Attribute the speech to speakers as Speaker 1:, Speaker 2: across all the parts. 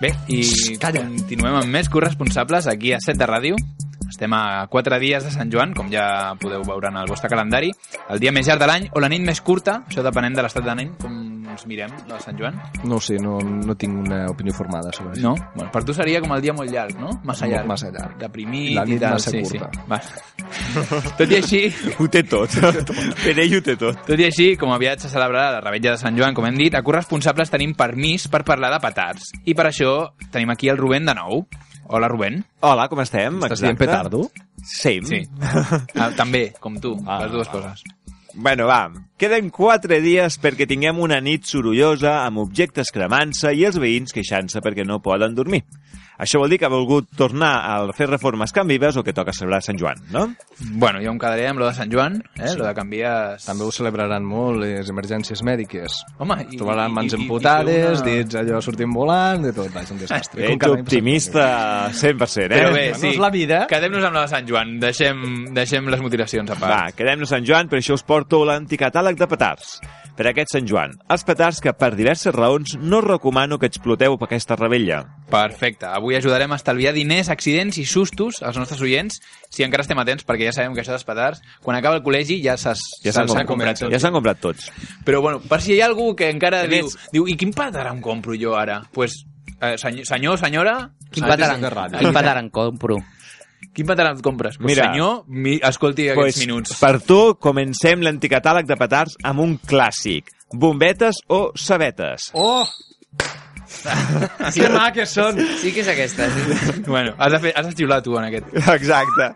Speaker 1: Bé, i
Speaker 2: Calla.
Speaker 1: continuem amb més corresponsables aquí a Set de Ràdio. Estem a 4 dies de Sant Joan, com ja podeu veure en el vostre calendari. El dia més llarg de l'any o la nit més curta, això depenent de l'estat d'anem, com ens mirem, la de Sant Joan.
Speaker 2: No ho sé, no, no tinc una opinió formada sobre això.
Speaker 1: No? Bueno, per tu seria com el dia molt llarg, no? Massa
Speaker 2: Molt
Speaker 1: llarg.
Speaker 2: massa llarg.
Speaker 1: Deprimit
Speaker 2: La nit
Speaker 1: i tal.
Speaker 2: massa
Speaker 1: sí,
Speaker 2: curta.
Speaker 1: Sí. Va. Tot i així,
Speaker 3: Ho té tot. per ell ho té tot.
Speaker 1: tot i així, com aviat se celebrarà la Revetlla de Sant Joan, com hem dit, a corresponsables tenim permís per parlar de petards. I per això tenim aquí el Rubén de nou. Hola, Rubén.
Speaker 3: Hola, com estem?
Speaker 2: Estàs dient petardo?
Speaker 3: Same.
Speaker 1: Sí. Ah, també, com tu,
Speaker 3: Ah,
Speaker 1: les dues
Speaker 3: ah.
Speaker 1: coses.
Speaker 3: Bueno, va, queden quatre dies perquè tinguem una nit sorollosa, amb objectes cremant-se i els veïns queixant-se perquè no poden dormir. Això vol dir que ha volgut tornar a fer reformes can vives o que toca celebrar Sant Joan, no?
Speaker 1: Bueno, jo em quedaré amb lo de Sant Joan, eh? Sí. Lo de canviar...
Speaker 2: També ho celebraran molt les emergències mèdiques.
Speaker 1: Home,
Speaker 2: Es trobaran mans
Speaker 1: i- i- i-
Speaker 2: emputades,
Speaker 1: i fer
Speaker 2: dits allò sortint volant, de tot, vaig, un desastre.
Speaker 3: Ets
Speaker 2: cada any passa
Speaker 3: optimista 100%, eh?
Speaker 1: Però bé,
Speaker 2: Bueno,
Speaker 1: sí.
Speaker 2: és la vida.
Speaker 1: Quedem-nos amb la de Sant Joan. Deixem, deixem les mutilacions a part.
Speaker 3: Va, quedem-nos a Sant Joan, per això us porto l'anticatàleg de petards. Per aquest Sant Joan, els petards que per diverses raons no recomano que exploteu per aquesta rebella.
Speaker 1: Perfecte. Avui ajudarem a estalviar diners, accidents i sustos als nostres oients, si encara estem atents, perquè ja sabem que això dels petards, quan acaba el col·legi ja se'ls
Speaker 3: Ja
Speaker 1: se'ls
Speaker 3: s'han
Speaker 1: han comprat tots.
Speaker 3: Ja s'han comprat tots.
Speaker 1: Però bueno, per si hi ha algú que encara
Speaker 3: A
Speaker 1: diu,
Speaker 3: més-
Speaker 1: diu, i quin petard em compro jo ara? Doncs, pues, eh, senyor, senyor, senyora...
Speaker 4: Quin
Speaker 1: saps?
Speaker 2: de
Speaker 4: pataran,
Speaker 2: ràdio.
Speaker 4: quin pataran compro?
Speaker 1: Quin petard et compres? Pues,
Speaker 3: Mira.
Speaker 1: senyor, mi, escolti aquests
Speaker 3: Pues,
Speaker 1: pues, minuts.
Speaker 3: Per tu, comencem l'anticatàleg de petards amb un clàssic. Bombetes o sabetes?
Speaker 2: Oh! que maques són!
Speaker 4: Sí que és aquesta, sí.
Speaker 1: Bueno, has de, fer, has de xiular tu en aquest.
Speaker 3: Exacte.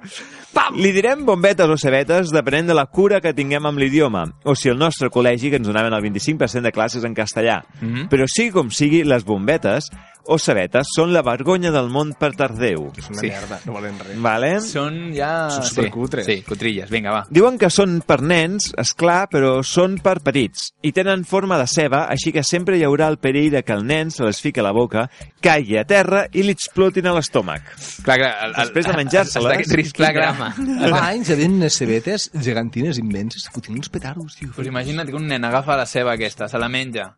Speaker 3: Pam! Li direm bombetes o cebetes depenent de la cura que tinguem amb l'idioma, o si el nostre col·legi que ens donaven el 25% de classes en castellà.
Speaker 1: Mhm.
Speaker 3: Però sigui com sigui, les bombetes o cebetes són la vergonya del món per Tardeu.
Speaker 2: És una
Speaker 1: Sí.
Speaker 2: merda, no valen res.
Speaker 3: Vale?
Speaker 1: Són ja...
Speaker 2: Són supercutres.
Speaker 1: Sí, sí, cutrilles. Vinga, va.
Speaker 3: Diuen que són per nens, és clar, però són per petits. I tenen forma de ceba, així que sempre hi haurà el perill de que el nen se les fica a la boca, caigui a terra i li explotin a l'estómac.
Speaker 1: Clar, clar, el, el,
Speaker 3: Després de eh? menjar-se-les,
Speaker 1: està aquest risc, clar, clar.
Speaker 4: drama.
Speaker 2: Fa anys havien unes cebetes gegantines immenses, fotint uns petardos, tio.
Speaker 1: Pues imagina't que un nen agafa la ceba aquesta, se la menja,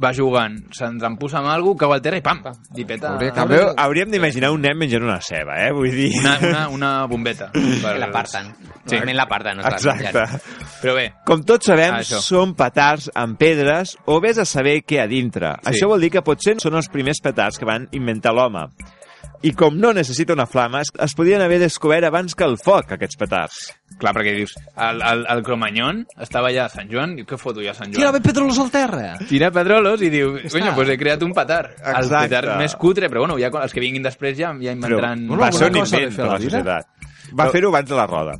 Speaker 1: va jugant, s'entrampussa amb alguna cosa, cau al terra i pam, li peta
Speaker 2: Hauria que-
Speaker 3: També hauríem d'imaginar un nen menjant una ceba, eh? Vull dir...
Speaker 1: una, una, una bombeta. Per...
Speaker 4: La parten.
Speaker 1: Sí.
Speaker 4: Normalment la parten. No es la
Speaker 3: Exacte.
Speaker 4: mengen.
Speaker 1: Però bé,
Speaker 3: Com tots sabem,
Speaker 1: Ah, això.
Speaker 3: són petards amb pedres o vés a saber què a dintre.
Speaker 1: Sí.
Speaker 3: Sí. Això vol dir que potser són els primers petards que van inventar l'home. I com no necessita una flama, es- es podien haver descobert abans que el foc, aquests petards.
Speaker 1: clar, perquè dius, el, el, el Cromanyón estava allà a Sant Joan, diu, què foto jo a Sant Joan?
Speaker 2: Tira bé petrolos al terra!
Speaker 1: Tira pedrolos i diu, coño, pues he creat un petard. El
Speaker 3: Exacte.
Speaker 1: petard més cutre, però bueno, ja, quan- els que vinguin després ja, ja inventaran...
Speaker 2: Bueno,
Speaker 3: va
Speaker 2: alguna
Speaker 3: ser un
Speaker 2: cosa
Speaker 3: invent
Speaker 2: de fer
Speaker 3: per
Speaker 2: la
Speaker 3: la
Speaker 2: vida.
Speaker 3: societat. Va fer-ho abans de la roda.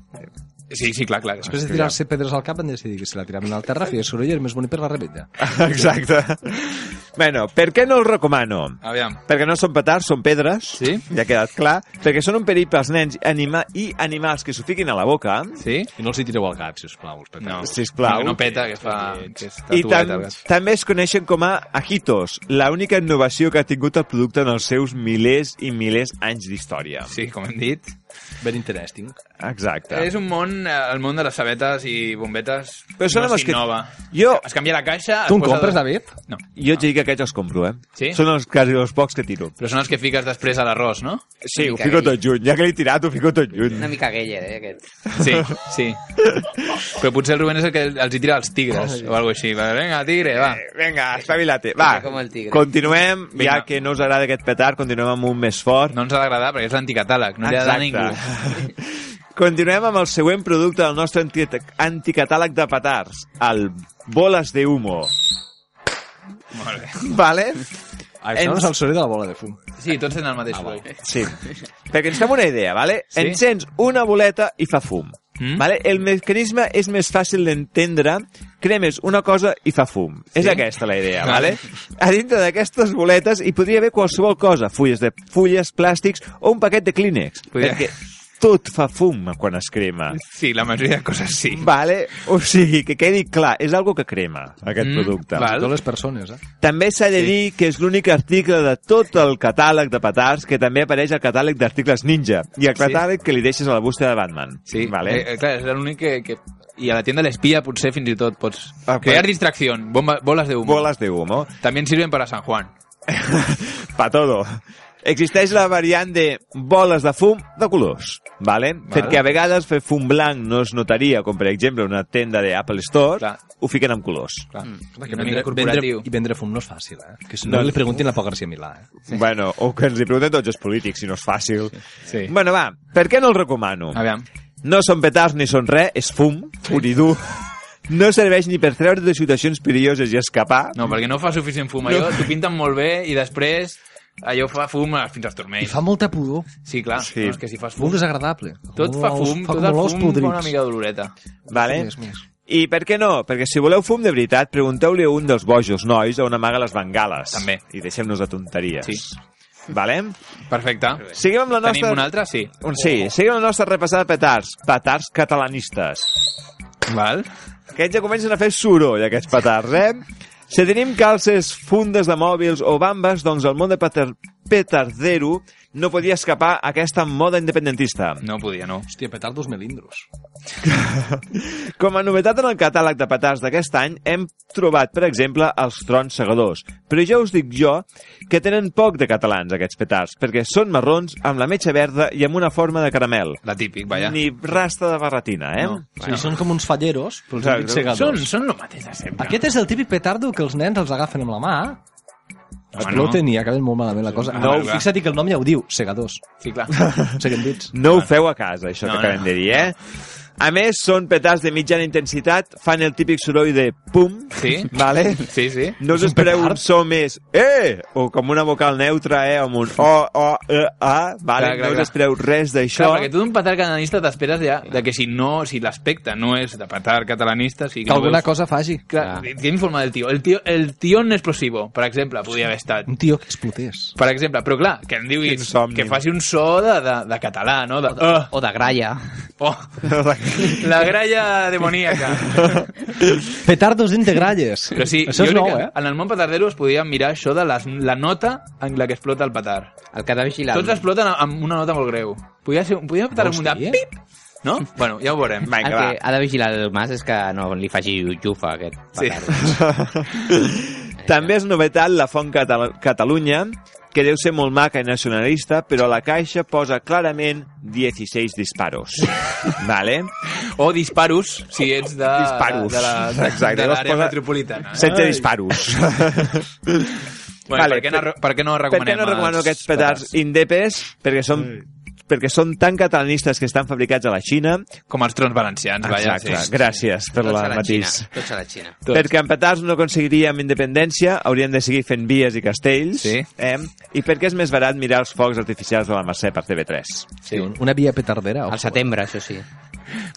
Speaker 1: Sí, sí, clar, clar.
Speaker 2: Després de tirar-se pedres al cap van decidir que si la tiraven al terra feia soroll i era més bonic per la rebella.
Speaker 3: Exacte. bueno, per què no el recomano?
Speaker 1: Aviam.
Speaker 3: Perquè no són petards, són pedres,
Speaker 1: Sí.
Speaker 3: ja ha quedat clar, perquè són un perill pels nens anima i animals que s'ho fiquin a la boca,
Speaker 1: Sí?
Speaker 2: I no els hi tireu al cap, sisplau, els
Speaker 1: No. No,
Speaker 3: Sisplau.
Speaker 1: que no peta, que fa... Que és
Speaker 3: I
Speaker 1: tatuet,
Speaker 3: tam
Speaker 1: el gat.
Speaker 3: també es coneixen com a ajitos, la única innovació que ha tingut el producte en els seus milers i milers anys d'història.
Speaker 1: Sí, com hem dit.
Speaker 2: Ben interesting.
Speaker 3: Exacte.
Speaker 1: És un món, eh, el món de les sabetes i bombetes,
Speaker 3: Però són
Speaker 1: no
Speaker 3: amb els que-
Speaker 1: s'innova.
Speaker 3: Jo,
Speaker 1: Es canvia la caixa... es
Speaker 2: Tu en
Speaker 1: posa
Speaker 2: compres,
Speaker 1: dos-
Speaker 2: David?
Speaker 1: No.
Speaker 3: jo et dic que aquests els compro, eh?
Speaker 1: Sí?
Speaker 3: Són els, quasi els pocs que tiro.
Speaker 1: Però són els que fiques després a l'arròs, no?
Speaker 3: Sí,
Speaker 4: Una
Speaker 3: ho
Speaker 4: mica
Speaker 3: fico
Speaker 4: gay.
Speaker 3: tot junt. Ja que l'he tirat, ho fico tot junt.
Speaker 4: Una mica gayer, eh, aquest.
Speaker 1: Sí, sí. Però potser el Rubén és el que els hi tira als tigres o alguna així. Va, Vinga, tigre, va.
Speaker 3: Eh, Vinga, espavilate. Va,
Speaker 4: Com el tigre.
Speaker 3: continuem.
Speaker 1: Vinga.
Speaker 3: Ja que no us agrada aquest petard, continuem amb un més fort.
Speaker 1: No ens ha d'agradar perquè és l'anticatàleg, no li ha d'agradar a ningú.
Speaker 3: Continuem amb el següent producte del nostre anti anticatàleg de petards, el boles de humo.
Speaker 1: Molt bé.
Speaker 3: Vale?
Speaker 2: Ah, Això
Speaker 3: Ens-
Speaker 2: és el soroll de la bola de fum.
Speaker 1: Sí, tots tenen el mateix.
Speaker 2: Ah,
Speaker 1: Ah,
Speaker 2: vale.
Speaker 3: Sí. Perquè ens fem una idea, vale?
Speaker 1: Sí.
Speaker 3: Encens una boleta i fa fum.
Speaker 1: Mm?
Speaker 3: Vale? El mecanisme és més fàcil d'entendre. Cremes una cosa i fa fum. Sí? És aquesta la idea, vale? A dintre d'aquestes boletes hi podria haver qualsevol cosa. Fulles de fulles, plàstics o un paquet de Kleenex.
Speaker 1: Podria-
Speaker 3: Podria... Perquè tot fa fum quan es crema.
Speaker 1: Sí, la majoria de coses sí.
Speaker 3: Vale? O sigui, que quedi clar, és algo que crema, aquest
Speaker 1: Mm,
Speaker 3: producte.
Speaker 1: val.
Speaker 2: Totes les persones, eh?
Speaker 3: També s'ha de dir que és l'únic article de tot el catàleg de petards que també apareix al catàleg d'articles ninja i al catàleg que li deixes a la bústia de Batman.
Speaker 1: Sí,
Speaker 3: Vale?
Speaker 1: eh, eh, clar, és l'únic que, que... I a la tienda de l'espia potser fins i tot pots...
Speaker 3: Ah,
Speaker 1: crear
Speaker 3: però-
Speaker 1: distracció, bomba, boles de humo.
Speaker 3: Boles de humo.
Speaker 1: També sirven para San Juan.
Speaker 3: Pa todo. Existeix la variant de boles de fum de colors, vale? perquè a vegades fer fum blanc no es notaria, com per exemple una tenda de Apple Store,
Speaker 1: Clar.
Speaker 3: ho fiquen amb colors.
Speaker 1: Clar, mm.
Speaker 2: Que
Speaker 1: una
Speaker 2: vendre,
Speaker 1: mica corporatiu.
Speaker 2: vendre, I vendre fum no és fàcil, eh? Que si no, no li preguntin la Pau García Milà, eh?
Speaker 3: Sí. Bueno, o que ens hi pregunten tots els polítics, si no és fàcil.
Speaker 1: Sí.
Speaker 3: Bueno, va, per què no el recomano?
Speaker 1: Aviam.
Speaker 3: No són petards ni són res, és fum, puridur. No serveix ni per treure de situacions perilloses i escapar.
Speaker 1: No, perquè no fa suficient fum allò, t'ho pinten molt bé i després allò fa fum fins als
Speaker 2: I
Speaker 1: turmells.
Speaker 2: fa molta pudor.
Speaker 1: Sí, clar,
Speaker 3: Sí.
Speaker 1: sí. No, és que si fas fum,
Speaker 2: Molt desagradable.
Speaker 1: tot fa fum, tot el fum fa una mica de doloreta.
Speaker 3: Vale?
Speaker 2: Més, més.
Speaker 3: I per què no? Perquè si voleu fum de veritat, pregunteu-li a un dels bojos nois on amaga les bengales.
Speaker 1: També.
Speaker 3: I deixem-nos de tonteries.
Speaker 1: Sí.
Speaker 3: Vale?
Speaker 1: Perfecte.
Speaker 3: Seguim amb la nostra...
Speaker 1: Tenim una altra? Sí.
Speaker 3: Un- Sí, seguim amb la nostra repassada de petards. Petards catalanistes.
Speaker 1: Val.
Speaker 3: Aquests ja comencen a fer soroll, aquests petards, eh? Si tenim calces, fundes de mòbils o bambes, doncs el món de petar petardero no podia escapar a aquesta moda independentista.
Speaker 1: No podia, no.
Speaker 2: Hòstia, petardos melindros.
Speaker 3: Com a novetat en el catàleg de petards d'aquest any, hem trobat, per exemple, els trons segadors. Però ja us dic jo que tenen poc de catalans, aquests petards, perquè són marrons, amb la metxa verda i amb una forma de caramel.
Speaker 1: La típic, vaja.
Speaker 3: Ni rasta de barretina, eh?
Speaker 1: No.
Speaker 2: O sigui, són com uns falleros, però els
Speaker 3: Exacte.
Speaker 2: típics segadors.
Speaker 1: Són, són el mateix de sempre.
Speaker 2: Aquest és el típic petardo que els nens els agafen amb la mà, exploten i acaben molt malament la cosa.
Speaker 1: Ah,
Speaker 2: No,
Speaker 1: bueno, clar.
Speaker 2: fixa't que el nom ja ho diu, segadors.
Speaker 1: Sí, clar.
Speaker 2: Seguen dits.
Speaker 3: No ho feu a casa, això
Speaker 1: No,
Speaker 3: que acabem
Speaker 1: no.
Speaker 3: de dir, eh? A més, són petards de mitjana intensitat, fan el típic soroll de pum,
Speaker 1: Sí.
Speaker 3: vale?
Speaker 1: Sí, sí.
Speaker 3: No
Speaker 2: És
Speaker 3: us
Speaker 2: un
Speaker 3: espereu un
Speaker 2: petard.
Speaker 3: so més eh, o com una vocal neutra, eh, amb un o, o, e, a, vale?
Speaker 1: Clar, clar,
Speaker 3: no us
Speaker 1: clar.
Speaker 3: espereu res
Speaker 1: Clar,
Speaker 3: d'això.
Speaker 1: perquè tu d'un petard catalanista t'esperes ja de que si no, si l'aspecte no és de petard catalanista, si
Speaker 2: Que alguna cosa faci.
Speaker 1: Clar, Tiene informe del tío. El tío, el tío en explosivo, per exemple, podria haver estat.
Speaker 2: Un tio que explotés.
Speaker 1: Per exemple, però clar, que em
Speaker 3: Quin
Speaker 1: diguis
Speaker 3: somni.
Speaker 1: que faci un so de, de, de català, no? De, oh,
Speaker 4: O de gralla.
Speaker 1: oh, la gralla demoníaca.
Speaker 2: Petardos d'integralles.
Speaker 1: Però sí,
Speaker 2: Això
Speaker 1: jo
Speaker 2: és nou,
Speaker 1: crec que
Speaker 2: eh?
Speaker 1: en el món petardero es podria mirar això de les, la nota en la que explota el petard.
Speaker 4: El que ha de vigilar.
Speaker 1: Tots exploten amb una nota molt greu. Podria ser, podria petar amb un de
Speaker 2: Vols dir, eh?
Speaker 1: pip, no? Bueno, ja ho veurem.
Speaker 4: El
Speaker 3: Vinga, va.
Speaker 4: que ha de vigilar el mas és que no li faci jufa, aquest
Speaker 1: Sí.
Speaker 4: petard.
Speaker 3: També és novetat la font Catal Catalunya, que deu ser molt maca i nacionalista, però la caixa posa clarament 16 disparos. vale?
Speaker 1: O disparos, si ets de,
Speaker 3: Disparos.
Speaker 1: de, la- de,
Speaker 3: Exacte,
Speaker 1: de
Speaker 3: vas
Speaker 1: l'àrea
Speaker 3: posar-
Speaker 1: metropolitana. Eh?
Speaker 3: 16 disparos.
Speaker 1: Bueno,
Speaker 3: Vale,
Speaker 1: per, què no,
Speaker 3: per-
Speaker 1: per què no
Speaker 3: per què
Speaker 1: recomanem
Speaker 3: no recomano
Speaker 1: els
Speaker 3: aquests petards indepes? Perquè són, perquè són tan catalanistes que estan fabricats a la Xina.
Speaker 1: Com els trons valencians, vaja.
Speaker 3: Exacte. Gràcies per
Speaker 4: Tots
Speaker 3: la
Speaker 4: a la Xina.
Speaker 3: matís.
Speaker 4: Tots a la Xina.
Speaker 1: Tots.
Speaker 3: Perquè amb petards no aconseguiríem independència, hauríem de seguir fent vies i castells,
Speaker 1: Sí.
Speaker 3: eh? i perquè és més barat mirar els focs artificials de la Mercè per TV3.
Speaker 1: Sí.
Speaker 2: Sí, un- una via petardera.
Speaker 4: Al setembre, això sí.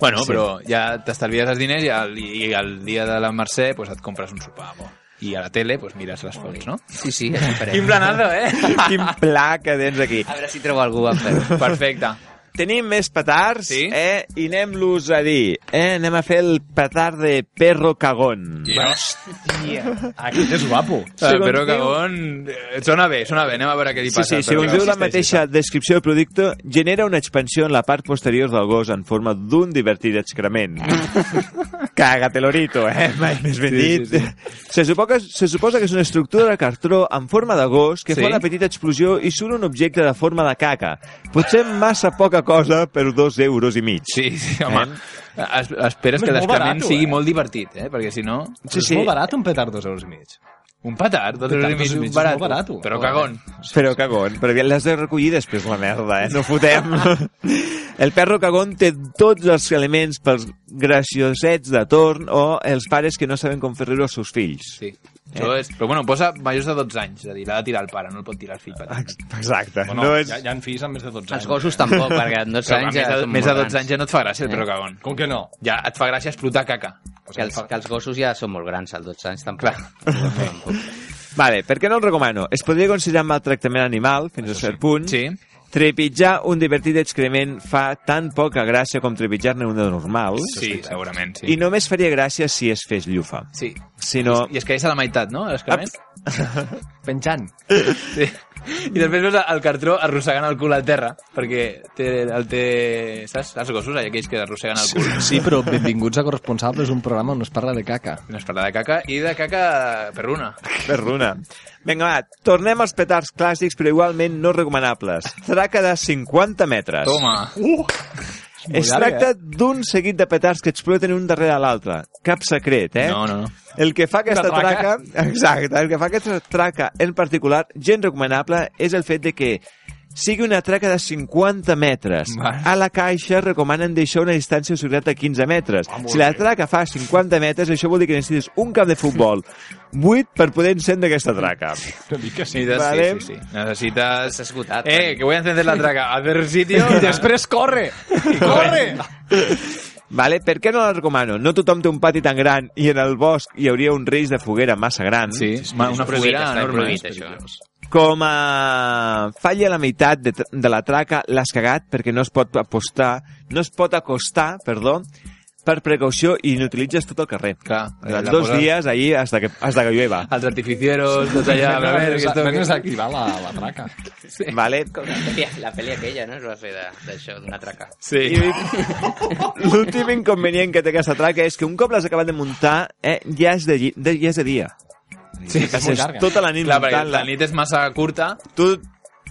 Speaker 1: Bueno, però ja t'estalvies els diners i el, i el dia de la Mercè pues, et compres un sopar. Bo. I a la tele pues, mires les fonts, no?
Speaker 4: Sí, sí, això farem.
Speaker 1: Quin planado, eh?
Speaker 3: Quin pla que tens aquí.
Speaker 4: A veure si trobo algú a fer-ho.
Speaker 1: Perfecte.
Speaker 3: Tenim més petards,
Speaker 1: Sí.
Speaker 3: eh? I anem-los a dir. Eh? Anem a fer el petard de perro cagón.
Speaker 1: Hòstia. Aquest és guapo.
Speaker 3: Segons
Speaker 1: Però
Speaker 3: diu-
Speaker 1: cagón... eh, Sona bé, sona bé. Anem a veure què li
Speaker 3: Sí,
Speaker 1: passa.
Speaker 3: sí, segons diu la mateixa descripció del producte, genera una expansió en la part posterior del gos en forma d'un divertit excrement. Càgate l'orito, eh? Mai més ben
Speaker 1: Sí,
Speaker 3: dit.
Speaker 1: sí,
Speaker 3: Se, suposa, se suposa que és una estructura de cartró en forma de gos que
Speaker 1: Sí?
Speaker 3: fa una petita explosió i surt un objecte de forma de caca. Potser massa poca cosa per dos euros i mig.
Speaker 1: Sí, sí, home. Es, esperes
Speaker 2: Home,
Speaker 1: que
Speaker 2: és
Speaker 1: l'experiment
Speaker 2: molt barato,
Speaker 1: sigui
Speaker 2: eh?
Speaker 1: molt divertit, eh? Perquè si no...
Speaker 2: Sí, sí. És molt barat un petard dos euros i mig.
Speaker 1: Un petard, dos euros i mig,
Speaker 2: Petard, dos i mig,
Speaker 1: un
Speaker 2: és
Speaker 1: barat.
Speaker 2: molt barato.
Speaker 1: Però cagón.
Speaker 3: Però cagón, però aviat l'has de recollir després la merda, eh? No fotem. El perro cagón té tots els elements pels graciosets de torn o els pares que no saben com fer riure els seus fills.
Speaker 1: Sí. Això és... Però bueno, posa majors de 12 anys, és a dir, l'ha de tirar el pare, no el pot tirar el fill petit.
Speaker 3: Exacte.
Speaker 2: Bueno,
Speaker 3: no és...
Speaker 2: ja, ja en fills amb més de 12 anys.
Speaker 4: Els gossos tampoc, perquè amb 12
Speaker 1: Però, clar,
Speaker 4: anys
Speaker 1: més,
Speaker 4: ja
Speaker 1: de,
Speaker 4: són
Speaker 1: més de
Speaker 4: molt
Speaker 1: 12
Speaker 4: grans.
Speaker 1: anys ja no et fa gràcia el
Speaker 4: Eh.
Speaker 1: però cagón.
Speaker 2: Com que no?
Speaker 1: Ja et fa gràcia explotar caca. O
Speaker 4: Que
Speaker 1: sigui,
Speaker 4: els,
Speaker 1: et fa-
Speaker 4: que els gossos ja són molt grans, als 12 anys tampoc. Clar.
Speaker 3: Vale, per què no el recomano? Es podria considerar maltractament animal, fins a cert punt.
Speaker 1: Sí.
Speaker 3: Trepitjar un divertit excrement fa tan poca gràcia com trepitjar-ne un de normal.
Speaker 1: Sí, segurament, sí.
Speaker 3: I només faria gràcia si es fes llufa.
Speaker 1: Sí.
Speaker 3: Si no...
Speaker 1: I es caeix a la meitat, no? a L'escament?
Speaker 2: Penjant.
Speaker 1: Sí. I després veus el cartró arrossegant el cul al terra, perquè té, el té... Saps? Els gossos, allà, aquells que arrosseguen el cul.
Speaker 2: Sí, però benvinguts a Corresponsables, un programa on es parla de caca.
Speaker 1: No es parla de caca, i de caca perruna.
Speaker 3: Perruna. Vinga, va, tornem als petards clàssics, però igualment no recomanables. Traca de 50 metres.
Speaker 1: Toma.
Speaker 3: es tracta
Speaker 1: eh?
Speaker 3: d'un seguit de petards que exploten un darrere l'altre. Cap secret, eh?
Speaker 1: No, no, no.
Speaker 3: El que fa aquesta
Speaker 2: Una
Speaker 3: traca...
Speaker 2: traca.
Speaker 3: Exacte, el que fa aquesta traca en particular, gent recomanable, és el fet de que sigui una traca de 50 metres.
Speaker 1: Va.
Speaker 3: A la caixa recomanen deixar una distància associada de 15 metres.
Speaker 1: Ah,
Speaker 3: si la traca fa 50 metres, això vol dir que necessites un camp de futbol buit per poder encendre aquesta traca.
Speaker 1: Necessites,
Speaker 3: Vale.
Speaker 1: sí, sí, sí. Necessites...
Speaker 4: Estàs esgotat,
Speaker 1: Eh,
Speaker 4: Dani.
Speaker 1: que voy a encender la traca. A ver sitio.
Speaker 2: I després corre! Corre!
Speaker 3: Vale? Per què no la recomano? No tothom té un pati tan gran i en el bosc hi hauria un risc de foguera massa gran.
Speaker 1: Sí, ma- una
Speaker 4: prohibit,
Speaker 1: foguera
Speaker 4: està
Speaker 1: enorme.
Speaker 4: prohibit,
Speaker 1: eh?
Speaker 4: això.
Speaker 3: Com a falla la meitat de, de la traca, l'has cagat perquè no es pot apostar, no es pot acostar, perdó, per precaució i n'utilitzes tot el carrer.
Speaker 1: Clar,
Speaker 3: Durant
Speaker 1: la
Speaker 3: dos
Speaker 1: cosa-
Speaker 3: dies, ahir, hasta que, hasta que llueva.
Speaker 1: Els artificieros, tot allà. A veure, que esto...
Speaker 2: Vens a activar la, la traca.
Speaker 3: Vale?
Speaker 4: Com la pel·li, la pel·li aquella, no? Es va fer de- d'això, d'una traca.
Speaker 3: I
Speaker 1: Sí.
Speaker 3: L'últim inconvenient que té aquesta traca és que un cop l'has acabat de muntar, eh, ja, és de, lli- de, ja és de dia.
Speaker 2: Sí, és molt
Speaker 3: Passes
Speaker 2: llarga.
Speaker 3: tota la nit
Speaker 1: Clar, perquè
Speaker 3: muntant-la.
Speaker 1: la nit és massa curta.
Speaker 3: Tu,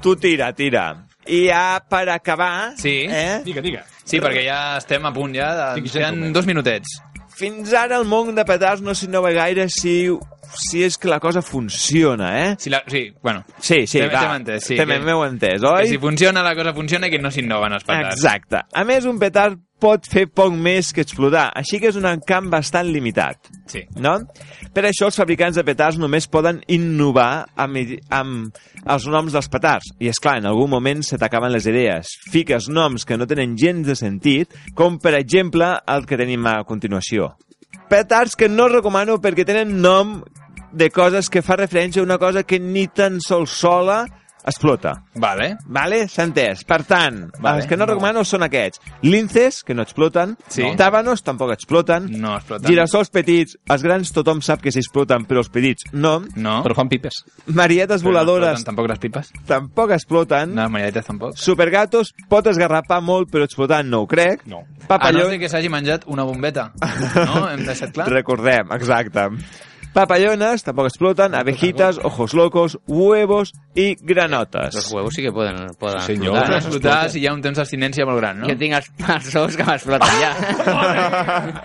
Speaker 3: tu tira, tira. I ja per acabar,
Speaker 1: Sí.
Speaker 3: eh,
Speaker 2: Digue, digue.
Speaker 1: Sí, perquè ja estem a punt, ja.
Speaker 2: Sí,
Speaker 1: Ens
Speaker 2: ja
Speaker 1: queden
Speaker 2: tomem.
Speaker 1: dos minutets.
Speaker 3: fins ara el món de petards no s'innova gaire si, si és que la cosa funciona, eh?
Speaker 1: Si la... Sí, bueno.
Speaker 3: Sí, sí,
Speaker 1: T'hem-
Speaker 3: va.
Speaker 1: t'hem entès, sí,
Speaker 3: T'hem-
Speaker 1: que-
Speaker 3: M'heu entès,
Speaker 1: Que
Speaker 3: oi?
Speaker 1: si funciona, la cosa funciona i que no s'innoven els petards.
Speaker 3: Exacte. A més, un petard pot fer poc més que explotar, així que és un camp bastant limitat,
Speaker 1: Sí.
Speaker 3: no? Per això els fabricants de petards només poden innovar amb, i- amb els noms dels petards. I, és clar, en algun moment se t'acaben les idees. Fiques noms que no tenen gens de sentit, com, per exemple, el que tenim a continuació. Petards que no recomano perquè tenen nom de coses que fa referència a una cosa que ni tan sols sola explota.
Speaker 1: Vale.
Speaker 3: Vale? S'ha entès. Per tant,
Speaker 1: Vale.
Speaker 3: els que no recomano són aquests. Linces, que no exploten.
Speaker 1: Sí.
Speaker 3: Tàbanos, tampoc exploten.
Speaker 1: No exploten.
Speaker 3: Girassols petits, els grans tothom sap que s'exploten, però els petits no.
Speaker 1: No.
Speaker 2: Però fan pipes.
Speaker 3: Marietes
Speaker 1: Però no
Speaker 3: voladores
Speaker 1: exploten Tampoc les pipes.
Speaker 3: tampoc
Speaker 2: Mm.
Speaker 3: exploten.
Speaker 1: No, les malletes tampoc.
Speaker 3: Supergatos pot esgarrapar molt, però explotar no ho crec.
Speaker 2: No.
Speaker 1: A no ser
Speaker 3: Papallons,
Speaker 1: que s'hagi menjat una bombeta. No? Hem deixat clar?
Speaker 3: recordem, exacte. Papallones tampoc exploten, abejitas, ojos locos, huevos i
Speaker 4: Els
Speaker 3: granotes.
Speaker 4: huevos sí que poden, poden
Speaker 2: Sí, senyor.
Speaker 1: Poden
Speaker 4: explotar. no?
Speaker 1: explotar si hi ha un temps d'abstinència molt gran,
Speaker 4: Jo
Speaker 1: no?
Speaker 4: tinc els, els ous que m'exploten ja.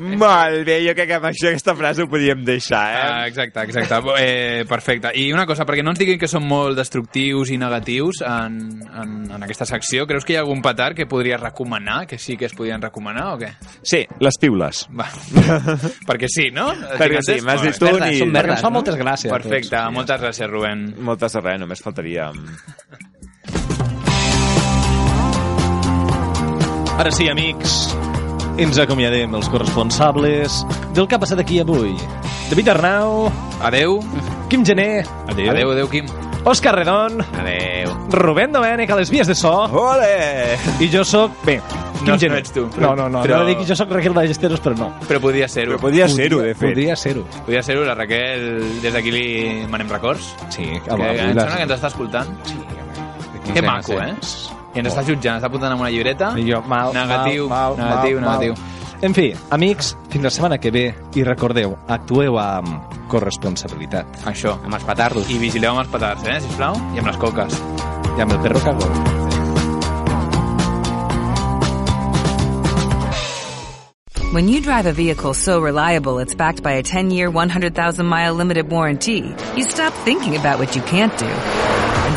Speaker 3: Molt bé, jo crec que amb això aquesta frase ho podíem deixar, eh?
Speaker 1: Ah, exacte, exacte. Eh, perfecte. I una cosa, perquè no ens diguin que són molt destructius i negatius en, en, en aquesta secció, creus que hi ha algun petard que podries recomanar, que sí que es podien recomanar o què?
Speaker 3: Sí, les piules.
Speaker 1: Va. perquè sí, no?
Speaker 3: Perquè sí, m'has dit tu
Speaker 4: verdes,
Speaker 3: ni...
Speaker 4: són
Speaker 2: Perquè ens
Speaker 4: verdes,
Speaker 2: fa
Speaker 4: no?
Speaker 2: moltes gràcies.
Speaker 1: Perfecte, moltes gràcies, Rubén.
Speaker 3: Moltes res, només faltaria.
Speaker 2: Ara sí, amics, ens acomiadem els corresponsables del que ha passat aquí avui. David Arnau,
Speaker 1: Adeu.
Speaker 2: Quim Gené,
Speaker 1: Adeu, adeu, Quim.
Speaker 2: Òscar Redon,
Speaker 4: Adéu.
Speaker 2: Rubén Domènech a les vies de so,
Speaker 3: Ole!
Speaker 2: i jo sóc... Bé,
Speaker 1: No,
Speaker 2: Quim Gené.
Speaker 1: no ets tu, però-
Speaker 2: No, no, no,
Speaker 1: però-
Speaker 2: però... no dic que jo sóc Raquel Ballesteros, però no.
Speaker 1: Però podia ser-ho.
Speaker 3: Però podia ser-ho, de fet.
Speaker 2: Podria ser-ho.
Speaker 1: Podia ser-ho, la Raquel, des d'aquí li manem records.
Speaker 2: Sí,
Speaker 1: Que,
Speaker 2: home,
Speaker 1: em
Speaker 2: la-
Speaker 1: sembla que ens està escoltant. Que
Speaker 4: sé,
Speaker 1: maco,
Speaker 4: no
Speaker 1: eh? I ens està jutjant, està apuntant amb una llibreta.
Speaker 2: I jo, mal,
Speaker 1: negatiu,
Speaker 2: mal, mal,
Speaker 1: negatiu,
Speaker 2: mal,
Speaker 1: negatiu.
Speaker 2: Mal. En fi, amics, fins la setmana que ve i recordeu, actueu amb corresponsabilitat
Speaker 1: Això.
Speaker 4: Amb els petardos.
Speaker 1: I vigileu amb els petards, eh, sisplau, i amb les coques.
Speaker 2: i amb el perro cagó.
Speaker 5: When you drive a vehicle so reliable it's backed by a 10 year, 100,000 mile limited warranty, you stop thinking about what you can't do and